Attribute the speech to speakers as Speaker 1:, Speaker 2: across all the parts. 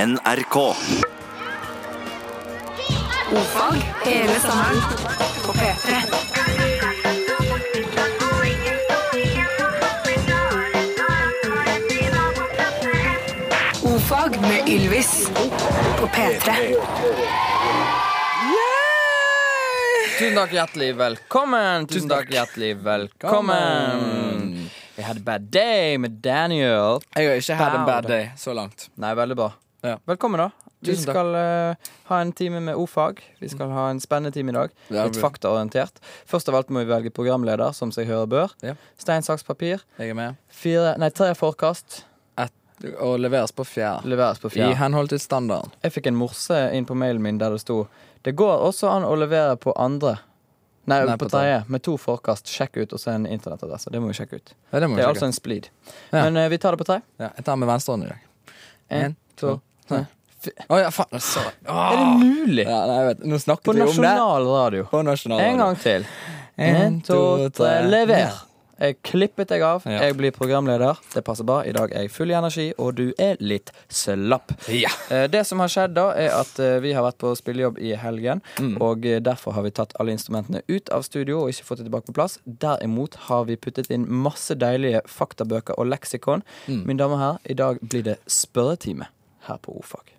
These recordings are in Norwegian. Speaker 1: NRK.
Speaker 2: Fag hele sommeren på P3. Ofag med Ylvis på P3.
Speaker 3: Tusen takk, hjertelig velkommen. Tusen takk, hjertelig velkommen. Vi hadde Bad Day med Daniel.
Speaker 4: Jeg har ikke hatt en bad
Speaker 3: Bad.
Speaker 4: day så langt.
Speaker 3: Nei, veldig bra.
Speaker 4: Ja.
Speaker 3: Velkommen, da. Vi
Speaker 4: Tusen takk.
Speaker 3: skal eh, ha en time med ordfag. Vi skal ha en spennende time i dag.
Speaker 4: Ja,
Speaker 3: Litt
Speaker 4: vi-
Speaker 3: faktaorientert. Først av alt må vi velge programleder, som seg hører bør.
Speaker 4: Ja.
Speaker 3: Stein, saks, papir.
Speaker 4: Jeg er med.
Speaker 3: Fire, nei, tre forkast
Speaker 4: Og leveres på fjerde.
Speaker 3: leveres på
Speaker 4: I
Speaker 3: fjerde.
Speaker 4: henhold til standarden.
Speaker 3: Jeg fikk en morse inn på mailen min der det sto Det går også an å levere på andre. Nei,
Speaker 4: Nei,
Speaker 3: på
Speaker 4: på
Speaker 3: tredje. Med to forkast. Sjekk ut, og så en internettadresse. Det må vi sjekke ut.
Speaker 4: Ja, det må vi
Speaker 3: Det er
Speaker 4: sjekke.
Speaker 3: altså en splid.
Speaker 4: Ja.
Speaker 3: Men eh, vi tar det på tre.
Speaker 4: Ja, jeg tar med venstrehånden i dag. En,
Speaker 3: to, tre.
Speaker 4: Å ja, faen. Sorry. Åh.
Speaker 3: Er det mulig?
Speaker 4: Ja, nei, jeg vet. Nå
Speaker 3: På
Speaker 4: snakket vi om det.
Speaker 3: nasjonal radio.
Speaker 4: På nasjonal.
Speaker 3: En gang til. En, to, tre, lever! Jeg klippet deg av.
Speaker 4: Ja.
Speaker 3: Jeg blir programleder. Det passer bra. I dag er jeg full i energi, og du er litt slapp.
Speaker 4: Ja.
Speaker 3: Eh, Det som har skjedd da, er at eh, vi har vært på spillejobb i helgen.
Speaker 4: Mm.
Speaker 3: Og eh, derfor har vi tatt alle instrumentene ut av studio og ikke fått det tilbake på plass. Derimot har vi puttet inn masse deilige faktabøker og leksikon.
Speaker 4: Mm.
Speaker 3: Mine damer og herrer, i dag blir det spørretime her på Ordfag.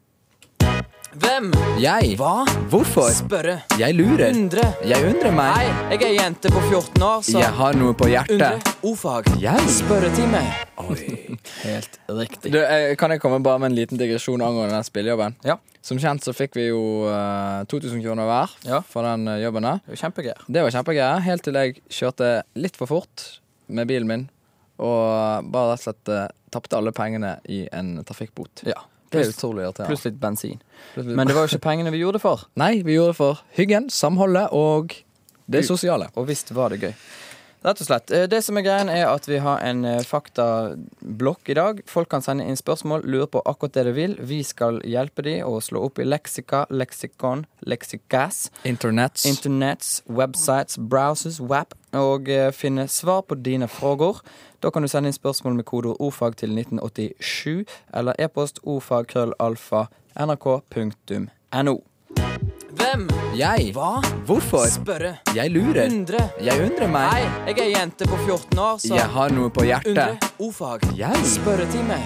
Speaker 3: Hvem?
Speaker 4: Jeg.
Speaker 3: Hva?
Speaker 4: Hvorfor?
Speaker 3: Spørre.
Speaker 4: Jeg lurer.
Speaker 3: Undre.
Speaker 4: Jeg undrer meg.
Speaker 3: Hei, jeg er jente på 14 år, så
Speaker 4: Jeg har noe på
Speaker 3: Undre.
Speaker 4: hjertet.
Speaker 3: Ordfag.
Speaker 4: Jeg.
Speaker 3: Spørretime. Helt riktig.
Speaker 4: Du, eh, kan jeg komme bare med en liten digresjon angående den spillejobben?
Speaker 3: Ja.
Speaker 4: Som kjent så fikk vi jo eh, 2000 kroner hver
Speaker 3: Ja.
Speaker 4: for den eh, jobben der.
Speaker 3: Det er jo kjempegreier.
Speaker 4: Det var kjempegreier, helt til jeg kjørte litt for fort med bilen min. Og bare rett og slett eh, tapte alle pengene i en trafikkbot.
Speaker 3: Ja.
Speaker 4: Det er
Speaker 3: Pluss-
Speaker 4: utrolig irriterende.
Speaker 3: Pluss litt bensin.
Speaker 4: Pluss litt-
Speaker 3: Men det var jo ikke pengene vi gjorde det for.
Speaker 4: Nei, vi gjorde det for hyggen, samholdet og det sosiale.
Speaker 3: Og visst var det gøy. Rett og slett. Eh, Det som er greien er at vi har en eh, faktablokk i dag. Folk kan sende inn spørsmål, lure på akkurat det de vil. Vi skal hjelpe dem å slå opp i leksika, leksikon, leksikas,
Speaker 4: Internets.
Speaker 3: internets, websites, browsers, wap, og eh, finne svar på dine spørsmål. Da kan du sende inn spørsmål med kodeord ordfag til 1987, eller e-post ordfagkrøllalfa nrk.no. Hvem?
Speaker 4: jeg.
Speaker 3: Hva?
Speaker 4: Hvorfor?
Speaker 3: Spørre.
Speaker 4: Jeg lurer.
Speaker 3: Undre.
Speaker 4: Jeg undrer meg.
Speaker 3: Hei, jeg er jente på 14 år, så
Speaker 4: Jeg har noe på
Speaker 3: undre
Speaker 4: hjertet.
Speaker 3: ordfag.
Speaker 4: Jeg.
Speaker 3: Spørretime.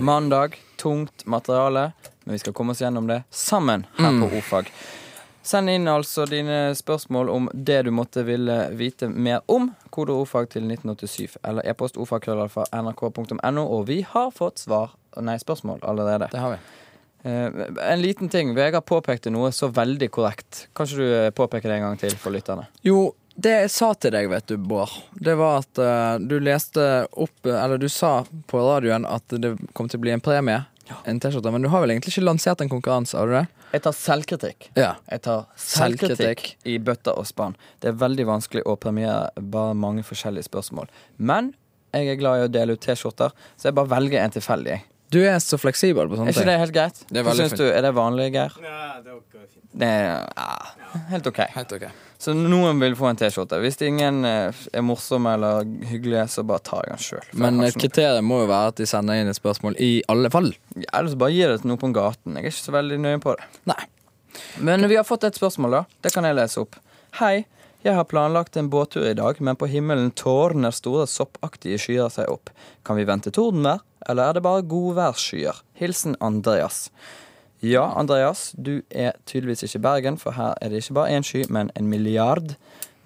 Speaker 3: Mandag, tungt materiale, men vi skal komme oss gjennom det sammen her på Ordfag. Send inn altså dine spørsmål om det du måtte ville vite mer om. Kode ordfag til 1987 eller e-post ordfagkrøllalfa nrk.no, og vi har fått svar Nei, spørsmål allerede.
Speaker 4: Det har vi.
Speaker 3: Eh, en liten ting. Vegard påpekte noe så veldig korrekt. Kanskje du eh, påpeker det en gang til for lytterne?
Speaker 4: Jo, det jeg sa til deg, vet du, Bård, det var at eh, du leste opp eh, Eller du sa på radioen at det kom til å bli en premie. En T-skjorte. Men du har vel egentlig ikke lansert en konkurranse, har du det?
Speaker 3: Jeg tar selvkritikk.
Speaker 4: Ja.
Speaker 3: Jeg tar
Speaker 4: Selvkritikk.
Speaker 3: selvkritikk i bøtta og spann. Det er veldig vanskelig å premiere bare mange forskjellige spørsmål. Men jeg er glad i å dele ut T-skjorter, så jeg bare velger en tilfeldig. jeg.
Speaker 4: Du er så fleksibel på
Speaker 3: Er
Speaker 4: sånne
Speaker 3: ikke
Speaker 4: ting.
Speaker 3: det helt greit?
Speaker 4: Det er
Speaker 3: Hva
Speaker 4: veldig
Speaker 3: syns
Speaker 4: fint.
Speaker 3: du? Er det vanlig, Geir?
Speaker 5: Ja, det går fint.
Speaker 3: Det er ah, helt OK.
Speaker 4: Helt ok.
Speaker 3: Så noen vil få en T-skjorte. Hvis ingen eh, er morsomme eller hyggelige, så bare tar jeg den sjøl.
Speaker 4: Men eh, et kriterium må jo være at de sender inn et spørsmål i alle fall.
Speaker 3: Ellers bare gir det til noen på gaten. Jeg er ikke så veldig nøye på det.
Speaker 4: Nei.
Speaker 3: Men vi har fått et spørsmål, da. Det kan jeg lese opp. Hei. Jeg har planlagt en båttur i dag, men på himmelen tårner store soppaktige skyer seg opp. Kan vi vente tordenvær, eller er det bare godværsskyer? Hilsen Andreas. Ja, Andreas, du er tydeligvis ikke i Bergen, for her er det ikke bare én sky, men en milliard.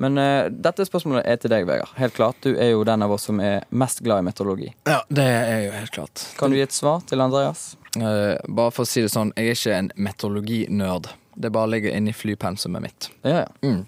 Speaker 3: Men eh, dette spørsmålet er til deg, Vegard. Helt klart, Du er jo den av oss som er mest glad i meteorologi.
Speaker 4: Ja, det er jo helt klart.
Speaker 3: Kan du gi et svar til Andreas?
Speaker 4: Eh, bare for å si det sånn, jeg er ikke en meteorologinerd. Det bare ligger inni flypensumet mitt.
Speaker 3: Ja, ja.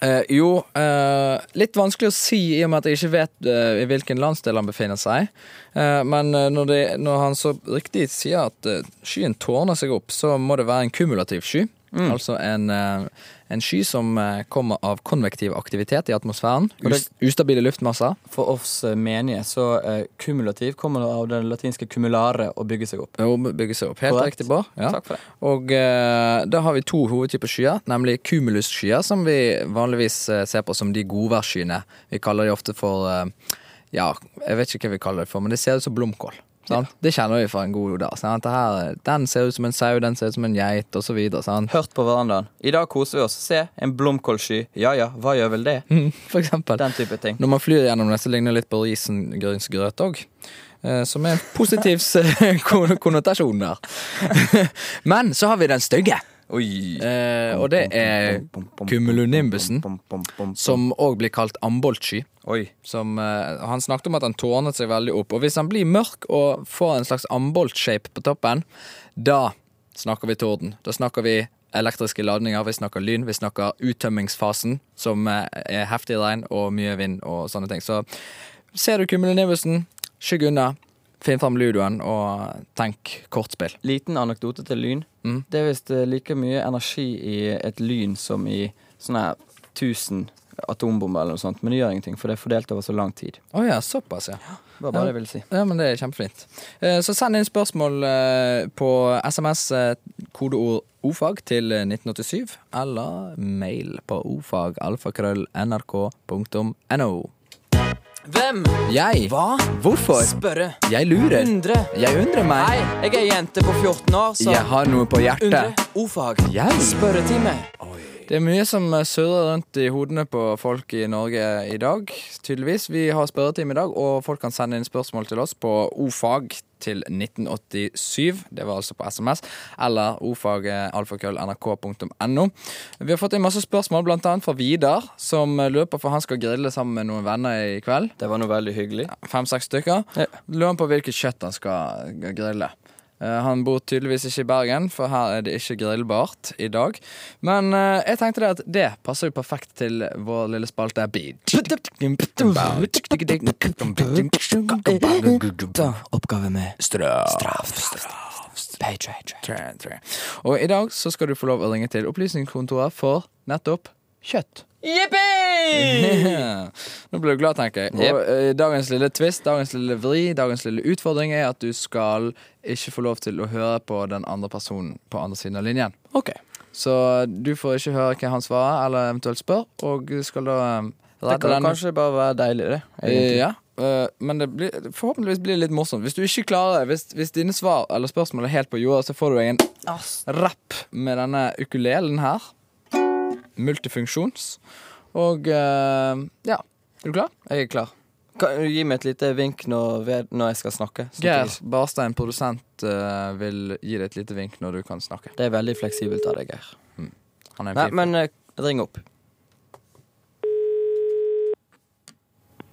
Speaker 4: Eh, jo, eh, litt vanskelig å si i og med at jeg ikke vet eh, i hvilken landsdel han befinner seg. Eh, men eh, når, det, når han så riktig sier at eh, skyen tårner seg opp, så må det være en kumulativ sky.
Speaker 3: Mm.
Speaker 4: Altså en, eh, en sky som eh, kommer av konvektiv aktivitet i atmosfæren.
Speaker 3: Og det-
Speaker 4: Us ustabile luftmasser.
Speaker 3: For oss eh, menige så eh, kumulativ kommer det av det latinske cumulare å bygge seg opp.
Speaker 4: Jo, bygger seg opp. Helt
Speaker 3: Korrekt.
Speaker 4: riktig, Bård. Ja.
Speaker 3: Takk for det.
Speaker 4: Og eh, da har vi to hovedtyper skyer, nemlig cumulusskyer, som vi vanligvis eh, ser på som de godværsskyene. Vi kaller de ofte for eh, Ja, jeg vet ikke hva vi kaller det for, men det ser ut som blomkål. Sant? Det kjenner vi fra en god dag. Sant? Det her, den ser ut som en sau, den ser ut som en geit, osv.
Speaker 3: Hørt på verandaen. I dag koser vi oss. Se, en blomkålsky. Ja ja, hva gjør vel det?
Speaker 4: For eksempel.
Speaker 3: Den type ting.
Speaker 4: Når man flyr gjennom det, så ligner det litt på risengrynsgrøt òg. eh, Som er en positiv s- kon- konnotasjon der. Men så har vi den stygge,
Speaker 3: Oi.
Speaker 4: eh, og det er cumulonimbusen. Som òg blir kalt amboltsky.
Speaker 3: Oi.
Speaker 4: Som, eh, han snakket om at han tårnet seg veldig opp. Og hvis han blir mørk og får en slags amboltshape på toppen, da snakker vi torden. Da snakker vi elektriske ladninger, vi snakker lyn, vi snakker uttømmingsfasen, som eh, er heftig regn og mye vind og sånne ting. Så ser du cumulonimusen, skygg unna, finn fram ludoen og tenk kortspill.
Speaker 3: Liten anekdote til lyn.
Speaker 4: Mm.
Speaker 3: Det er visst eh, like mye energi i et lyn som i sånne her 1000 atombomber eller noe sånt, men det gjør ingenting, for det er fordelt over så lang tid.
Speaker 4: Å ja, såpass, ja.
Speaker 3: Det var bare det jeg ville si.
Speaker 4: Ja, men det er kjempefint. Eh, Så send inn spørsmål eh, på SMS eh, kodeord ofag til 1987, eller mail på ofagalfakrøll.nrk.no.
Speaker 3: Hvem?
Speaker 4: Jeg
Speaker 3: Hva?
Speaker 4: Hvorfor?
Speaker 3: Spørre.
Speaker 4: Jeg lurer.
Speaker 3: Undre.
Speaker 4: Jeg undrer meg.
Speaker 3: jeg er jente på 14 år,
Speaker 4: Jeg har noe på hjertet.
Speaker 3: Ofag.
Speaker 4: Jeg.
Speaker 3: Spørretime.
Speaker 4: Det er mye som eh, surrer rundt i hodene på folk i Norge i dag, tydeligvis. Vi har spørretime i dag, og folk kan sende inn spørsmål til oss på ofag til 1987. Det var altså på SMS. Eller ofag.alfakrøll.nrk.no. Vi har fått inn masse spørsmål, blant annet fra Vidar, som løper for han skal grille sammen med noen venner i kveld.
Speaker 3: Det var noe veldig hyggelig.
Speaker 4: Fem-seks stykker.
Speaker 3: Ja.
Speaker 4: Lurer på hvilket kjøtt han skal grille. Eh, Han bor tydeligvis ikke i Bergen, for her er det ikke grillbart i dag. Men eh, jeg tenkte det at det passer jo perfekt til vår lille spalte Beat.
Speaker 3: Oppgave med straff.
Speaker 4: Og i dag så skal du få lov å ringe til Opplysningskontoret for nettopp kjøtt. Nå ble du glad, tenker jeg. Og eh, dagens lille twist, dagens lille vri, dagens lille utfordring er at du skal ikke få lov til å høre på den andre personen på andre siden av linjen.
Speaker 3: Ok.
Speaker 4: Så du får ikke høre hva han svarer, eller eventuelt spør, og du skal da eh,
Speaker 3: Det
Speaker 4: redde
Speaker 3: kan
Speaker 4: den.
Speaker 3: kanskje bare være deilig, det.
Speaker 4: Eh,
Speaker 3: egentlig.
Speaker 4: Ja, eh, men det blir, forhåpentligvis blir det litt morsomt. Hvis du ikke klarer det, hvis, hvis dine svar eller spørsmål er helt på jorda, så får du deg en rapp med denne ukulelen her. Multifunksjons. Og eh, ja. Er du klar?
Speaker 3: Jeg er klar. Kan du gi meg et lite vink når, ved, når jeg skal snakke? Sånn at
Speaker 4: Geir
Speaker 3: jeg-
Speaker 4: Barstein, produsent, eh, vil gi deg et lite vink når du kan snakke.
Speaker 3: Det er veldig fleksibelt av deg, Geir.
Speaker 4: Han er en
Speaker 3: Nei,
Speaker 4: fin
Speaker 3: men eh, ring opp.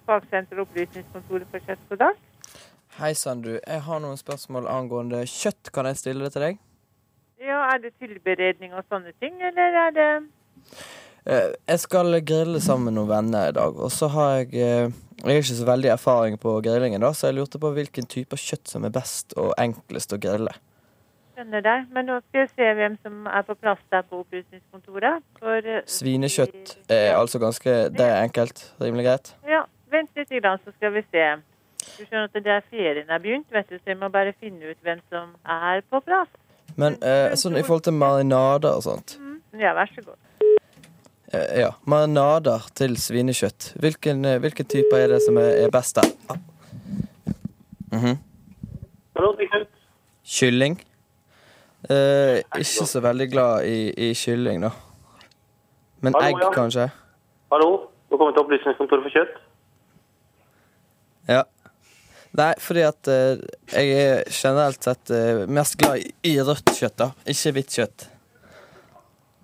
Speaker 1: Fagsenter og Opplysningskontoret for kjøtt og dag.
Speaker 3: Hei sann, du. Jeg har noen spørsmål angående kjøtt. Kan jeg stille det til deg?
Speaker 1: Ja, er det tilberedning og sånne ting, eller er det
Speaker 3: Eh, Jeg skal grille sammen med noen venner i dag, og så har jeg eh, Jeg har ikke så veldig erfaring på grillingen, da, så jeg lurte på hvilken type kjøtt som er best og enklest å grille.
Speaker 1: Skjønner deg. Men nå skal jeg se hvem som er på plass der på Opplysningskontoret. For eh,
Speaker 3: Svinekjøtt er altså ganske Det er enkelt. Rimelig greit.
Speaker 1: Ja, vent litt, grann, så skal vi se. Du skjønner at det er ferien er begynt, vet du, så jeg må bare finne ut hvem som er på plass.
Speaker 3: Men eh, sånn i forhold til marinader og sånt
Speaker 1: Ja, vær så god.
Speaker 3: eh, Ja, marinader til svinekjøtt. Hvilken, eh, hvilken type er det som er, er best der? Ah. Mhm. Kylling. Eh, ikke så veldig glad i, i kylling, da. Men
Speaker 5: Hallo,
Speaker 3: egg,
Speaker 5: ja.
Speaker 3: kanskje?
Speaker 5: Hallo, du kommer til Opplysningskontoret for kjøtt.
Speaker 3: Ja. Nei, fordi at eh, jeg er generelt sett eh, mest glad i, i rødt kjøtt, da. Ikke hvitt kjøtt.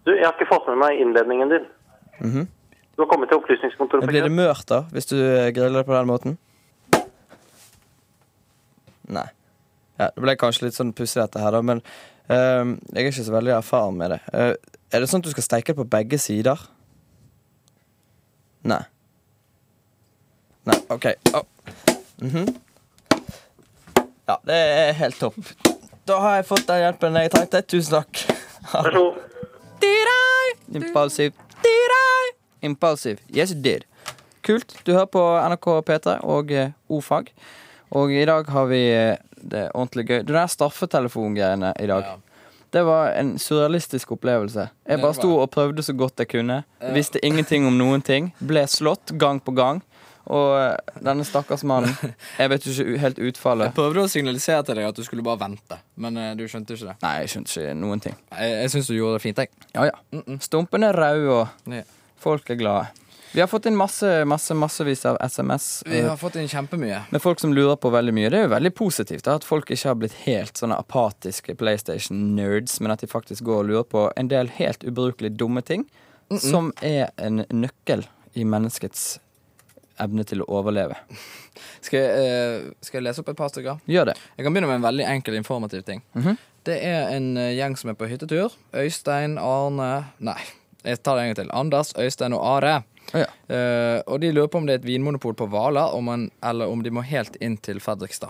Speaker 5: Du, jeg har ikke fått med meg innledningen din. Du har kommet til Opplysningskontoret
Speaker 3: Men
Speaker 5: for
Speaker 3: blir det
Speaker 5: kjøtt.
Speaker 3: mørt, da, hvis du eh, griller det på den måten? Nei. Ja, det ble kanskje litt sånn pussig, dette her, da, men eh, jeg er ikke så veldig erfaren med det. Eh, er det sånn at du skal steike det på begge sider? Nei. Nei, OK. Å. Mhm. Ja, det er helt topp. Da har jeg fått den hjelpen jeg trengte. Tusen takk.
Speaker 5: Vær så god.
Speaker 3: Impulsive. Impulsive. Yes, you did. Kult. Du hører på NRK P3 og eh, O-fag. Og i dag har vi eh, det er ordentlig gøy. Det der straffetelefongreiene i dag. Det var en surrealistisk opplevelse. Jeg
Speaker 4: det
Speaker 3: bare
Speaker 4: var
Speaker 3: sto og prøvde så godt jeg kunne. Visste ingenting om noen ting. Ble slått gang på gang. Og eh, denne stakkars mannen Jeg vet jo ikke u- helt
Speaker 4: Jeg
Speaker 3: utfallet.
Speaker 4: prøvde å signalisere til deg at du skulle bare vente, men eh, du skjønte ikke det.
Speaker 3: Nei, jeg skjønte ikke noen ting.
Speaker 4: Jeg, jeg syns du gjorde det fint, jeg.
Speaker 3: Ja, ja. Stumpen er rød, og
Speaker 4: Mm, Ja.
Speaker 3: folk er glade. Vi har fått inn masse, masse, massevis av SMS.
Speaker 4: Vi
Speaker 3: eh,
Speaker 4: har fått inn kjempemye.
Speaker 3: med folk som lurer på veldig mye. Det er jo veldig positivt da, at folk ikke har blitt helt sånne apatiske PlayStation-nerds, men at de faktisk går og lurer på en del helt ubrukelig dumme ting,
Speaker 4: Mm,
Speaker 3: som er en nøkkel i menneskets evne til å overleve.
Speaker 4: Skal jeg, eh, skal jeg lese opp et par stykker?
Speaker 3: Gjør det.
Speaker 4: Jeg kan begynne med en veldig enkel informativ ting. Det er en eh, gjeng som er på hyttetur. Øystein, Arne Nei, jeg tar det en gang til. Anders, Øystein og Are.
Speaker 3: Å ja.
Speaker 4: Eh, og de lurer på om det er et vinmonopol på Hvaler, om man- eller om de må helt inn til Fredrikstad.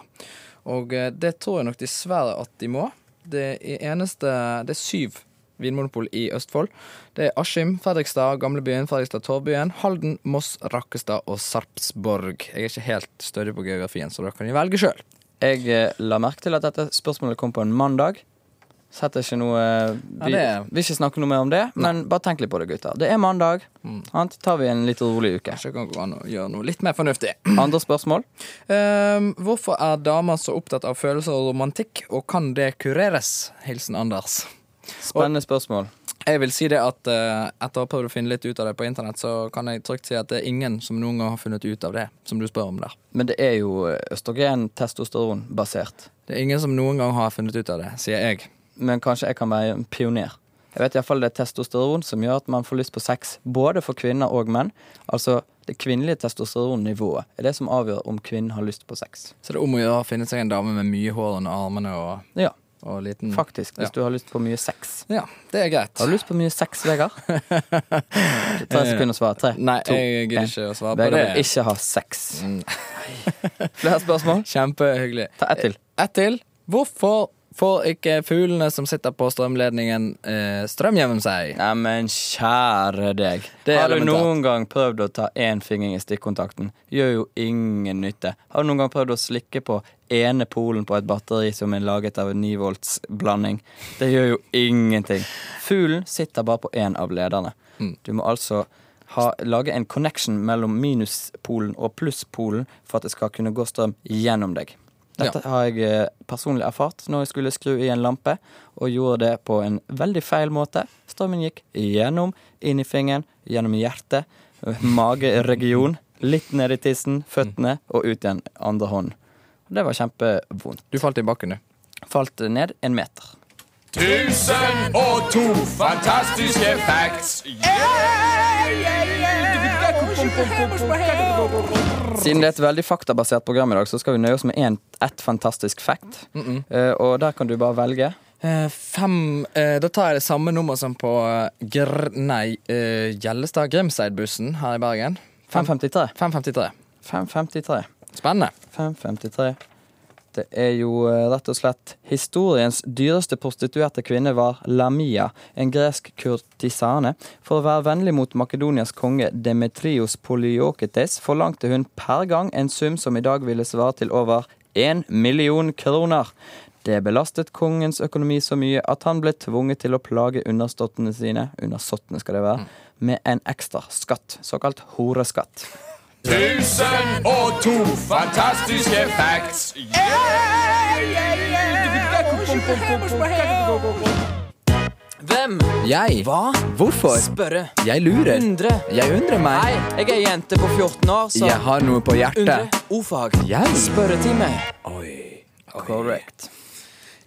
Speaker 4: Og eh, det tror jeg nok dessverre at de må. Det er, eneste, det er syv vinmonopol i Østfold. Det er Askim, Fredrikstad, Gamlebyen, Fredrikstad, Torvbyen, Halden, Moss, Rakkestad og Sarpsborg. Jeg er ikke helt stødig på geografien, så dere kan jo velge sjøl.
Speaker 3: Jeg eh, la merke til at dette spørsmålet kom på en mandag. Setter ikke noe eh, Vi
Speaker 4: Ja, det er-
Speaker 3: vil ikke snakke noe mer om det, men bare tenk litt på det, gutter. Det er mandag.
Speaker 4: Mm.
Speaker 3: Sant? tar vi en litt rolig uke.
Speaker 4: Kanskje det kan gå an å gjøre noe litt mer fornuftig.
Speaker 3: Andre spørsmål?
Speaker 4: Ehm, hvorfor er damer så opptatt av følelser og romantikk, og kan det kureres? Hilsen Anders.
Speaker 3: Spennende spørsmål.
Speaker 4: Jeg vil si det at eh, etter å ha prøvd å finne litt ut av det på internett, så kan jeg trygt si at det er ingen som noen gang har funnet ut av det, som du spør om der.
Speaker 3: Men det er jo eh, østrogen-testosteron-basert.
Speaker 4: Det er ingen som noen gang har funnet ut av det, sier jeg.
Speaker 3: men kanskje jeg kan være en pioner. Jeg vet i hvert fall det er testosteron som gjør at man får lyst på sex, både for kvinner og menn. Altså det kvinnelige testosteronnivået er det som avgjør om kvinnen har lyst på sex.
Speaker 4: Så det er om å gjøre å finne seg en dame med mye hår under armene og,
Speaker 3: Ja,
Speaker 4: og liten
Speaker 3: faktisk. Hvis
Speaker 4: Mm. Ja.
Speaker 3: du har lyst på mye sex.
Speaker 4: Ja, det er greit.
Speaker 3: Har du lyst på mye sex, Vegard? Tre sekunder å svare. Tre,
Speaker 4: Nei,
Speaker 3: to,
Speaker 4: jeg gidder
Speaker 3: en.
Speaker 4: ikke å svare på
Speaker 3: Vegard
Speaker 4: det.
Speaker 3: vil ikke ha sex. Flere spørsmål?
Speaker 4: Kjempehyggelig. Eh,
Speaker 3: Ta ett til.
Speaker 4: Ett til. Hvorfor får ikke fuglene som sitter på strømledningen, eh, strøm gjennom seg?
Speaker 3: Neimen, kjære deg.
Speaker 4: Det er
Speaker 3: har du
Speaker 4: elementært.
Speaker 3: noen gang prøvd å ta én finger i stikkontakten? Gjør jo ingen nytte. Har du noen gang prøvd å slikke på ene polen på et batteri som er laget av en 9 volts blanding? Det gjør jo ingenting. Fuglen sitter bare på én av lederne. Du må altså ha, lage en connection mellom minuspolen og plusspolen for at det skal kunne gå strøm gjennom deg. Dette har jeg eh, personlig erfart når jeg skulle skru i en lampe, og gjorde det på en veldig feil måte. Strømmen gikk gjennom, inn i fingeren, gjennom hjertet, eh, mageregion, litt ned i tissen, føttene og ut igjen andre hånd. Det var kjempevondt.
Speaker 4: Du falt i bakken, du.
Speaker 3: Falt ned en meter.
Speaker 6: Tusen og to fantastiske facts.
Speaker 3: Siden det er et veldig faktabasert program i dag, så skal vi nøye oss med en, ett fantastisk fact. Eh, og der kan du bare velge.
Speaker 4: Eh, fem eh, Da tar jeg det samme nummer som på eh, gr... Nei, eh, Gjellestad Grimseid-bussen her i Bergen. Fem-
Speaker 3: 553.
Speaker 4: 553.
Speaker 3: 553.
Speaker 4: Spennende.
Speaker 3: 553. Det er jo eh, rett og slett historiens dyreste prostituerte kvinne var Lamia, en gresk kurtisane. For å være vennlig mot Makedonias konge Demetrios Polyoketes forlangte hun per gang en sum som i dag ville svare til over én million kroner. Det belastet kongens økonomi så mye at han ble tvunget til å plage underståttene sine undersåttene skal det være, med en ekstra skatt, såkalt horeskatt.
Speaker 6: Tusen og to fantastiske facts.
Speaker 3: Hvem?
Speaker 4: Jeg
Speaker 3: Hva?
Speaker 4: Hvorfor?
Speaker 3: Spørre.
Speaker 4: Jeg lurer. Jeg undrer meg.
Speaker 3: Hei, jeg er jente på 14 år, så
Speaker 4: Jeg har noe på
Speaker 3: undre
Speaker 4: hjertet.
Speaker 3: ordfag.
Speaker 4: Jeg?
Speaker 3: Spørretime.
Speaker 4: Oi.
Speaker 3: Correct.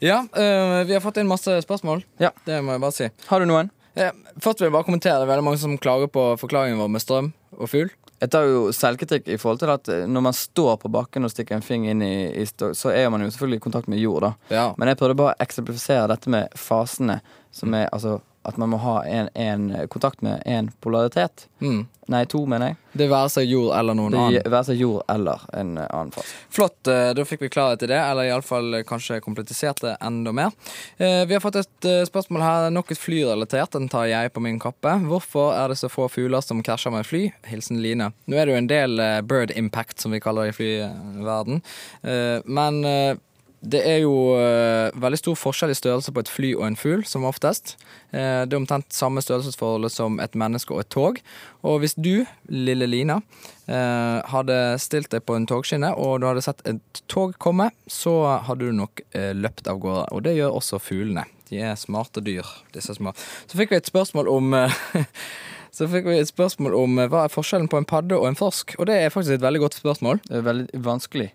Speaker 4: Ja, eh, vi har fått inn masse spørsmål.
Speaker 3: Ja.
Speaker 4: Det må jeg bare si.
Speaker 3: Har du noen?
Speaker 4: Eh, først vil jeg bare kommentere det er veldig mange som klager på forklaringen vår med strøm og fugl.
Speaker 3: Jeg tar jo selvkritikk i forhold til at eh, når man står på bakken og stikker en finger inn i, i stå, så er man jo selvfølgelig i kontakt med jord, da.
Speaker 4: Ja.
Speaker 3: Men jeg prøvde bare å eksemplifisere dette med fasene, som er altså at man må ha en, en eh, kontakt med én polaritet.
Speaker 4: Mm.
Speaker 3: Nei, to, mener jeg.
Speaker 4: Det være seg jord eller noen
Speaker 3: Det
Speaker 4: annen.
Speaker 3: gir- Være seg jord eller en eh, annen fase.
Speaker 4: Flott, eh, da fikk vi klarhet i det, eller iallfall kanskje kompletisert det enda mer. Eh, Vi har fått et eh, spørsmål her, nok et flyrelatert, den tar jeg på min kappe. Hvorfor er det så få fugler som krasjer med fly? Hilsen Line. Nå er det jo en del eh, bird impact, som vi kaller det i flyverden, Eh, men eh, Det er jo eh, veldig stor forskjell i størrelse på et fly og en fugl, som oftest. Eh, det er omtrent samme størrelsesforholdet som et menneske og et tog. Og hvis du, lille Lina, eh, hadde stilt deg på en togskinne, og du hadde sett et tog komme, så hadde du nok eh, løpt av gårde. Og det gjør også fuglene. De er smarte dyr, disse små. Så fikk vi et spørsmål om eh, Så fikk vi et spørsmål om eh, hva er forskjellen på en padde og en torsk. Og det er faktisk et veldig godt spørsmål.
Speaker 3: Det er veldig vanskelig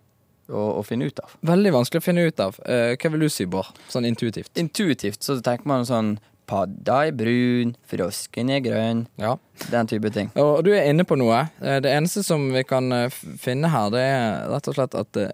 Speaker 3: å, å finne ut av.
Speaker 4: Veldig vanskelig å finne ut av. Eh, hva vil du si, Bård? Sånn intuitivt.
Speaker 3: Intuitivt så tenker man sånn Padda er brun, frosken er grønn,
Speaker 4: Ja.
Speaker 3: den type ting.
Speaker 4: Og du er inne på noe. Eh, Det eneste som vi kan eh, f- finne her, det er rett og slett at eh,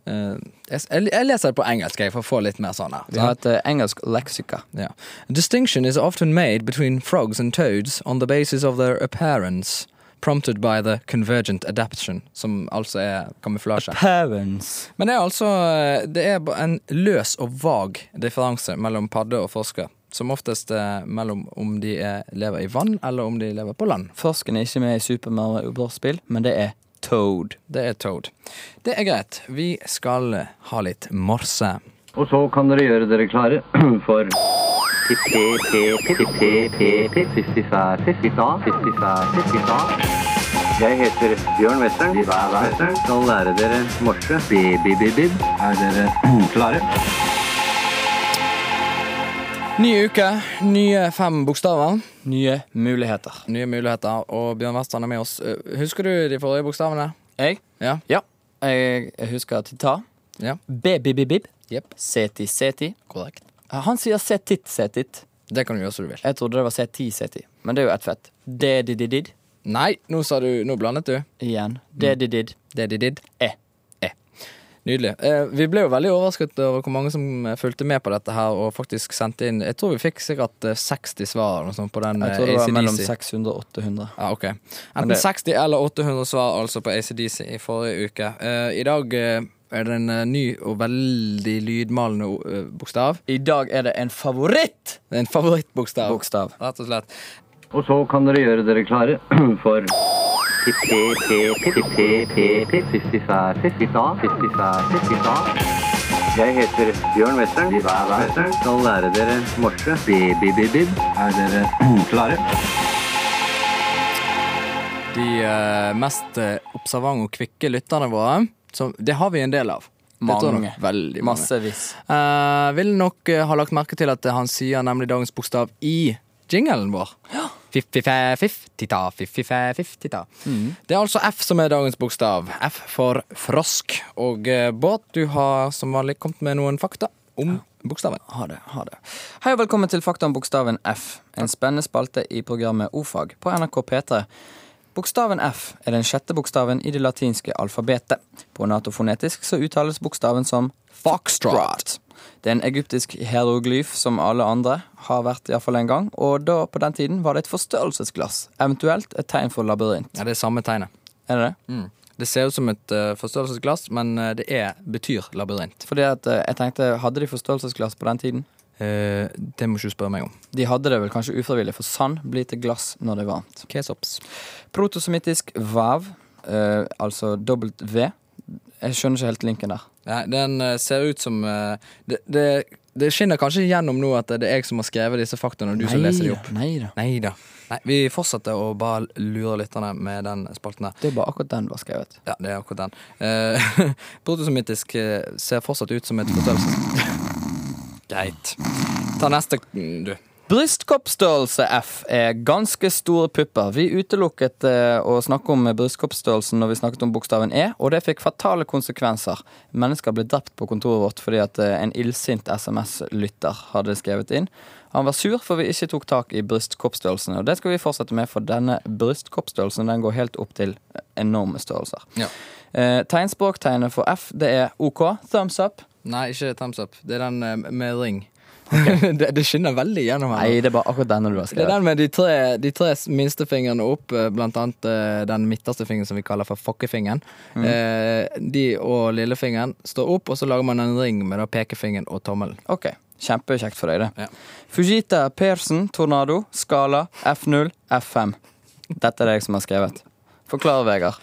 Speaker 4: jeg, s- jeg leser det på engelsk, jeg, for å få litt mer sånn her.
Speaker 3: Vi har et eh, engelsk leksika.
Speaker 4: Yeah. Distinction is often made between frogs and toads on the basis of their appearance, prompted by the convergent adaptation, som altså er kamuflasje.
Speaker 3: Parents.
Speaker 4: Men det er altså eh, det er ba- en løs og vag differanse mellom padde og forsker. Som oftest eh, mellom om de er, lever i vann, eller om de lever på land.
Speaker 3: Forsken er ikke med i Super Mario Bros-spill, men det er Toad.
Speaker 4: Det er Toad. Det er greit. Vi skal eh, ha litt morse.
Speaker 7: Og så kan dere gjøre dere klare for jeg heter Bjørn Western. Western. Skal lære dere morse. Bi-bi-bi-bib. Er dere klare?
Speaker 4: Ny uke, nye fem bokstaver.
Speaker 3: Nye muligheter.
Speaker 4: Nye muligheter. Og Bjørn Western er med oss. Eh, Husker du de forrige bokstavene?
Speaker 3: Jeg?
Speaker 4: Ja.
Speaker 3: Ja. Jeg, jeg husker Tita.
Speaker 4: Ja.
Speaker 3: Bebibibib.
Speaker 4: Jepp.
Speaker 3: Seti seti.
Speaker 4: Korrekt.
Speaker 3: Han sier setit setit.
Speaker 4: Det kan du gjøre som du vil.
Speaker 3: Jeg trodde det var seti seti, men det er jo ett fett. Dedididid.
Speaker 4: Nei, nå sa du Nå blandet du.
Speaker 3: Igjen. Dedidid.
Speaker 4: Det de did. eh,
Speaker 3: E.
Speaker 4: Nydelig. Eh, vi ble jo veldig overrasket over hvor mange som eh, fulgte med på dette her og faktisk sendte inn Jeg tror vi fikk sikkert eh, 60 svar eller noe sånt på den.
Speaker 3: Jeg
Speaker 4: eh,
Speaker 3: tror det var mellom
Speaker 4: AC/DC.
Speaker 3: 600 og 800.
Speaker 4: Ja, ok. Enten
Speaker 3: det-
Speaker 4: 60 eller 800 svar altså på ACDC i forrige uke. Eh, I dag eh, er det en eh, ny og veldig lydmalende eh, bokstav.
Speaker 3: I dag er det en favoritt
Speaker 4: Det er En favorittbokstav.
Speaker 3: Bokstav.
Speaker 4: Rett og slett.
Speaker 7: Og så kan dere gjøre dere klare for jeg heter Bjørn Western. Western. Skal lære dere morse. Bi-bi-bi-bib. Er dere klare?
Speaker 4: De eh, mest eh, observante og kvikke lytterne våre, som, det har vi en del av. Det tror jeg
Speaker 3: Mange.
Speaker 4: nok Veldig mange.
Speaker 3: Massevis.
Speaker 4: Eh, vil nok eh, ha lagt merke til at eh, han sier nemlig dagens bokstav i jinglen vår. eh, Fiff-fiff-fiff-tita, fiff-fiff-fiff-tita. eh, Det er altså F som er dagens bokstav. F for frosk. Og eh, Bård, du har som vanlig kommet med noen fakta om bokstaven.
Speaker 3: Ha det. ha det. Hei og velkommen til Fakta om bokstaven F. En spennende spalte i programmet O-fag på NRK P3. Bokstaven F er den sjette bokstaven i det latinske alfabetet. På natofonetisk så uttales bokstaven som foxtrot. Det er en egyptisk hieroglyf som alle andre har vært iallfall en gang, og da på den tiden var det et forstørrelsesglass, eventuelt et tegn for labyrint.
Speaker 4: Ja, det er samme tegnet.
Speaker 3: Er det det?
Speaker 4: Det ser ut som et eh, forstørrelsesglass, men eh, det er, betyr labyrint.
Speaker 3: Fordi at eh, jeg tenkte, hadde de forstørrelsesglass på den tiden?
Speaker 4: Eh, det må ikke du spørre meg om.
Speaker 3: De hadde det vel kanskje ufrivillig, for sand blir til glass når det er varmt.
Speaker 4: Kesops.
Speaker 3: Protosemittisk vav, eh, altså dobbelt V. Jeg skjønner ikke helt linken der.
Speaker 4: Nei, den eh, ser ut som eh, det, det, det skinner kanskje gjennom nå at det er jeg som har skrevet disse faktaene, og du som leser de opp.
Speaker 3: Nei da.
Speaker 4: Nei da. Nei, vi fortsetter å bare lure lytterne med den spalten her.
Speaker 3: Det er bare akkurat den var skrevet.
Speaker 4: Ja, det er akkurat den. Uh, Protosomittisk eh, ser fortsatt ut som et forstørrelse... Greit. Ta neste, mm, du.
Speaker 3: Brystkoppstørrelse F er ganske store pupper. Vi utelukket eh, å snakke om brystkoppstørrelsen når vi snakket om bokstaven E, og det fikk fatale konsekvenser. Mennesker ble drept på kontoret vårt fordi at eh, en illsint SMS-lytter hadde skrevet inn. Han var sur for vi ikke tok tak i brystkoppstørrelsen, og det skal vi fortsette med, for denne brystkoppstørrelsen den går helt opp til enorme størrelser.
Speaker 4: Ja.
Speaker 3: Eh, tegnspråktegnet for F, det er OK. Thumbs up.
Speaker 4: Nei, ikke thumbs up. Det er den eh, med ring. det, det skinner veldig gjennom her.
Speaker 3: Nei, det er bare akkurat denne du har
Speaker 4: Det er
Speaker 3: skrevet.
Speaker 4: den med de tre, de tre minste fingrene opp, eh, blant annet eh, den midterste fingeren som vi kaller for fokkefingeren. Eh, de og lillefingeren står opp, og så lager man en ring med da pekefingeren og tommelen.
Speaker 3: Ok, kjempekjekt for deg det.
Speaker 4: Ja.
Speaker 3: Fujita Persen Tornado Skala F0 F5. Dette er det jeg som har skrevet. Forklar, Vegard.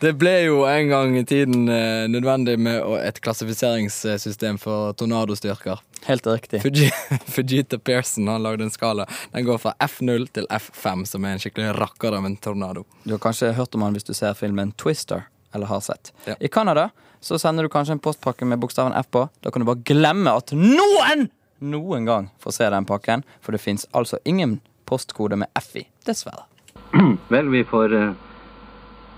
Speaker 4: Det ble jo en gang i tiden eh, nødvendig med å- et klassifiseringssystem for tornadostyrker.
Speaker 3: Helt riktig.
Speaker 4: Fuji- Fujita Pearson har lagd en skala. Den går fra F0 til F5, som er en skikkelig rakker av en tornado.
Speaker 3: Du har kanskje hørt om han hvis du ser filmen Twister, eller har sett.
Speaker 4: Ja.
Speaker 3: I Canada så sender du kanskje en postpakke med bokstaven F på. Da kan du bare glemme at noen noen gang får se den pakken, for det fins altså ingen postkode med F i, dessverre.
Speaker 7: Vel, vi får eh,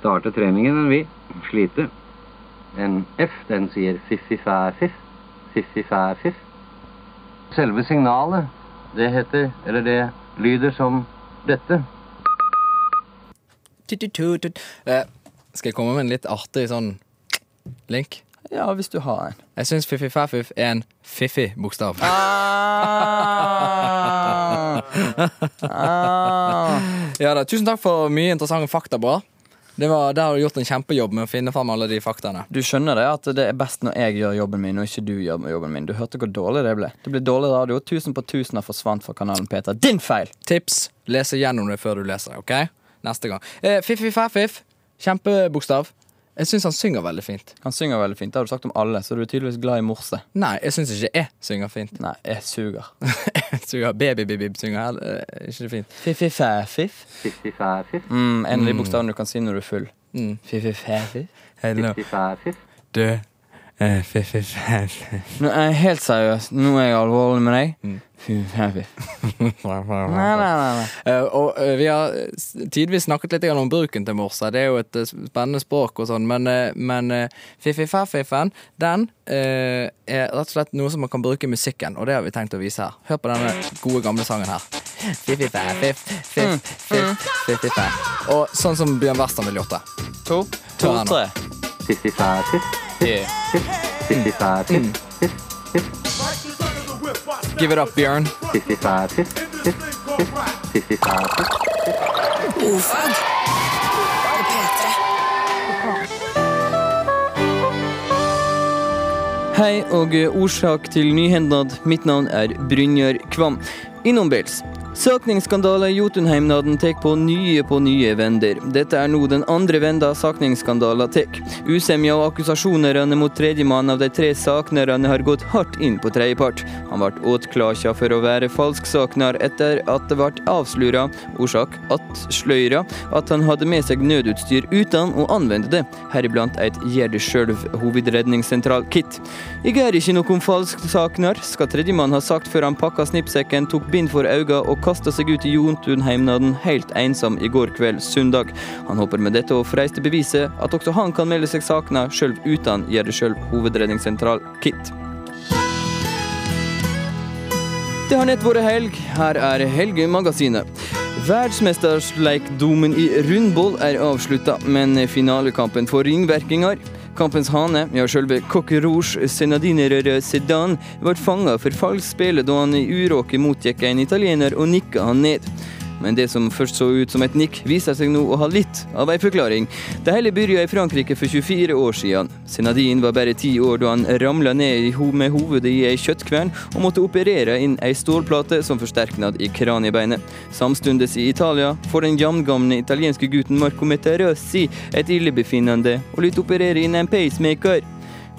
Speaker 7: starte treningen, men vi sliter. En F, den sier fiffi-fæ-fiff, fiffi-fæ-fiff. Selve signalet, det heter, eller det lyder som dette.
Speaker 4: Tut-tut-tut. Eh, Skal jeg komme med en litt artig sånn link?
Speaker 3: Ja, hvis du har en.
Speaker 4: Jeg syns fiffi-faffif er en fiffig bokstav. Ah. Ja da, Tusen takk for mye interessante fakta, bra. Det var, der har du gjort en kjempejobb med å finne fram alle de faktaene.
Speaker 3: Du skjønner det at det er best når jeg gjør jobben min, og ikke du gjør jobben min. Du hørte hvor dårlig det ble. Det ble dårlig radio. Tusen på tusener forsvant fra kanalen Peter. Din feil!
Speaker 4: Tips lese gjennom det før du leser, OK? Neste gang. Eh, Fiffi-faffif. Kjempebokstav. Jeg syns han synger veldig fint.
Speaker 3: Han synger veldig fint. Det har du sagt om alle, så du er tydeligvis glad i morse.
Speaker 4: Nei, jeg syns ikke jeg synger fint.
Speaker 3: Nei, jeg suger.
Speaker 4: Synger Baby-bibib synger her. eh, Ikke det fint?
Speaker 3: Fiffi-fæ-fiff.
Speaker 7: Fiffi-fæ-fiff,
Speaker 3: Mm, en av de bokstavene du kan si når du er full.
Speaker 4: Mm.
Speaker 3: Fiffi-fæ-fiff.
Speaker 4: Hello.
Speaker 7: fiffi-fæ-fiff.
Speaker 4: Du. Eh, Fiffi-faffif.
Speaker 3: Nå er jeg helt seriøs. Nå er jeg alvorlig med deg. Fiffi-fæ-fiff. Mm. Nei, nei, nei. nei.
Speaker 4: Eh, og eh, Vi har eh, s- tidvis snakket litt grann om bruken til morse. Det er jo et eh, spennende språk, og sånn, men, eh, men eh, fiffi-faff-fiffen den eh, er rett og slett noe som man kan bruke i musikken, og det har vi tenkt å vise her. Hør på denne gode, gamle sangen her. Fiffi-faff-fiff, fiff, fiff, fiffi-faff. Og sånn som Bjørn Western ville gjort det.
Speaker 3: To, to,
Speaker 4: Hva er nå?
Speaker 3: tre.
Speaker 7: Fiffi-fæ-fiff, fiff, fiffi-fæ-fiff, fiff, fiff,
Speaker 4: Give it up, Bjørn.
Speaker 7: fiffi-fæ-fiff, fiff, fiff, fiffi-fæ-fiff.
Speaker 2: Ofag på P3.
Speaker 3: Hei og eh, årsak til nyhendad. Mitt navn er Brynjar Kvam. Innombils. Sakningsskandale i Jotunheimnaden tar på nye på nye vender. Dette er nå den andre venda sakningsskandalen tar. Usemja og akkusasjonene mot tredjemann av de tre saknerne har gått hardt inn på tredjepart. Han ble åtklasja for å være falsksaknar etter at det ble avsløra, årsak attsløyra, at han hadde med seg nødutstyr uten å anvende det, heriblant et gjør det sjølv-hovedredningssentral-kit. Jeg er ikke noen falsk saknar, skal tredjemann ha sagt før han pakka snippsekken, tok bind for auga og kasta seg ut i Jontunheimnaden helt ensam i går kveld, søndag. Han håper med dette å freiste beviset at også han kan melde seg sakna, sjølv uten gjør det sjølv-hovedredningssentral-kit. Det har nett vært helg. Her er Helgemagasinet. Verdensmestersleikdomen i rundboll er avslutta, men finalekampen får ringvirkninger. Kampens hane, ja, sjølve Coque Rouge Senadinerere Sedan, ble fanga for falskt spill da han i uråket motgikk en italiener og nikka han ned. Men det som først så ut som et nikk, viser seg nå å ha litt av ei forklaring. Det hele begynte i Frankrike for 24 år siden. Senadin var bare ti år da han ramla ned i ho- med hovedet i ei kjøttkvern og måtte operere inn ei stålplate som forsterknad i kraniebeinet. Samtidig i Italia får den jamgamle italienske gutten Marco Meterossi et illebefinnende og lytt operere inn en pacemaker.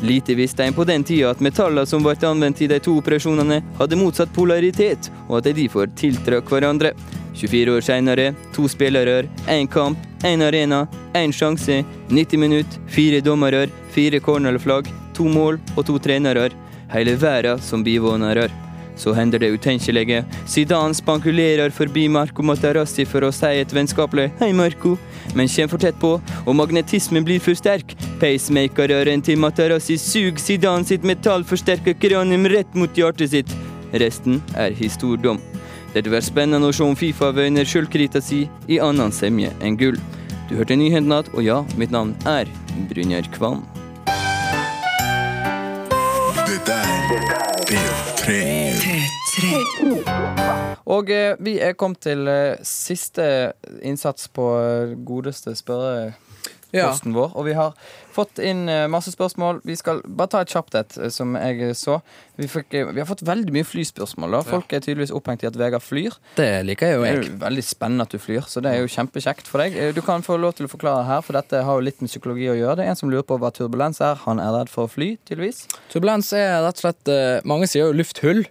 Speaker 3: Lite visste en på den tida at metaller som ble anvendt i de to operasjonene, hadde motsatt polaritet, og at de derfor tiltrakk hverandre. 24 år seinere, to spillere, én kamp, én arena, én sjanse, 90 minutt, fire dommere, fire cornerflagg, to mål og to trenere. Hele verden som bivånere. Så hender det utenkelige. Zidane spankulerer forbi Marco Matarassi for å si et vennskapelig 'Hei, Marco', men kommer for tett på, og magnetismen blir for sterk. Pacemakerøren til Matarassi suger Zidane sitt metallforsterka kranium rett mot hjertet sitt. Resten er historiedom. Det blir spennende å se om Fifa vinner skyldkrita si i annen semje enn gull. Du hørte nyhendene, og ja, mitt navn er Brynjar Kvam.
Speaker 6: Det der er tre.
Speaker 3: Og eh, vi er kommet til eh, siste innsats på eh, godeste spørre...
Speaker 4: Ja.
Speaker 3: posten vår. Og vi har fått inn eh, masse spørsmål. Vi skal bare ta et kjapt et, eh, som jeg så. Vi, fikk, eh, vi har fått veldig mye flyspørsmål. da. Folk er tydeligvis opphengt i at Vegard flyr.
Speaker 4: Det liker jo
Speaker 3: Det er
Speaker 4: jeg.
Speaker 3: jo veldig spennende at du flyr, så det er jo kjempekjekt for deg. Eh, Du kan få lov til å forklare her, for dette har jo litt med psykologi å gjøre. Det er en som lurer på hva turbulens er. Han er redd for å fly, tydeligvis.
Speaker 4: Turbulens er rett og slett eh, Mange sier jo lufthull.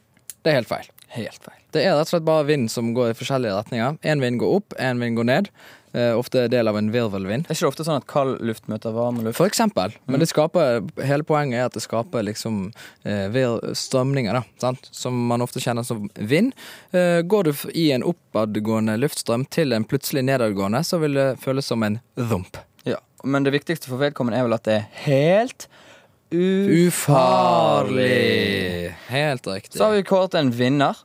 Speaker 4: Det er helt feil.
Speaker 3: Helt feil.
Speaker 4: Det er rett og slett bare vind som går i forskjellige retninger. Én vind går opp, én vind går ned. Eh, ofte del av en virvelvind.
Speaker 3: Er ikke det ofte sånn at kald luft møter varm luft?
Speaker 4: For eksempel. Men
Speaker 3: Mm.
Speaker 4: det skaper, hele poenget er at det skaper liksom eh, vir- strømninger, da, sant? som man ofte kjenner som vind. Eh, går du f- i en oppadgående luftstrøm til en plutselig nedadgående, så vil det føles som en rump.
Speaker 3: Ja. Men det viktigste for vedkommende er vel at det er helt
Speaker 4: Ufarlig! Helt riktig.
Speaker 3: Så har vi kåret en vinner.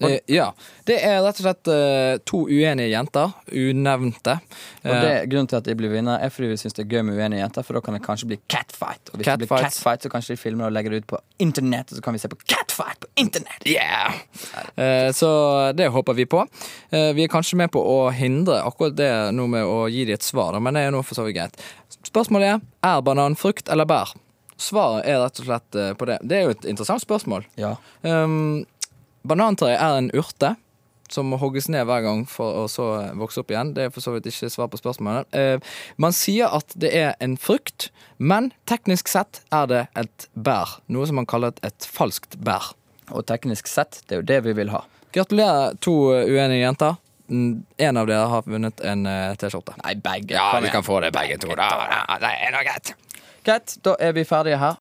Speaker 4: Eh, ja. Det er rett og slett eh, to uenige jenter. Unevnte.
Speaker 3: Og det, grunnen til at de blir vinner, er fordi vi syns det er gøy med uenige jenter, for da kan det kanskje bli catfight. Og hvis det blir
Speaker 4: Catfight.
Speaker 3: catfight, så kanskje de filmer og legger det ut på internett, og så kan vi se på catfight på internett!
Speaker 4: Yeah! Eh, Så det håper vi på. Eh, Vi er kanskje med på å hindre akkurat det nå med å gi dem et svar, da, men det er nå for så vidt greit. Spørsmålet er er banan frukt eller bær. Svaret er rett og slett eh, på det. Det er jo et interessant spørsmål.
Speaker 3: Ja.
Speaker 4: Um, Banantreet er en urte som må hogges ned hver gang for å så vokse opp igjen. Det er for så vidt ikke svar på spørsmålet. Eh, man sier at det er en frukt, men teknisk sett er det et bær. Noe som man kaller et- et falskt bær.
Speaker 3: Og teknisk sett, det er jo det vi vil ha.
Speaker 4: Gratulerer to eh, uenige jenter. Mm, En av dere har vunnet en eh, T-skjorte. Nei, begge. Ja, vi kan få det begge to. Da. Det er nå greit.
Speaker 3: Greit, da er vi ferdige her.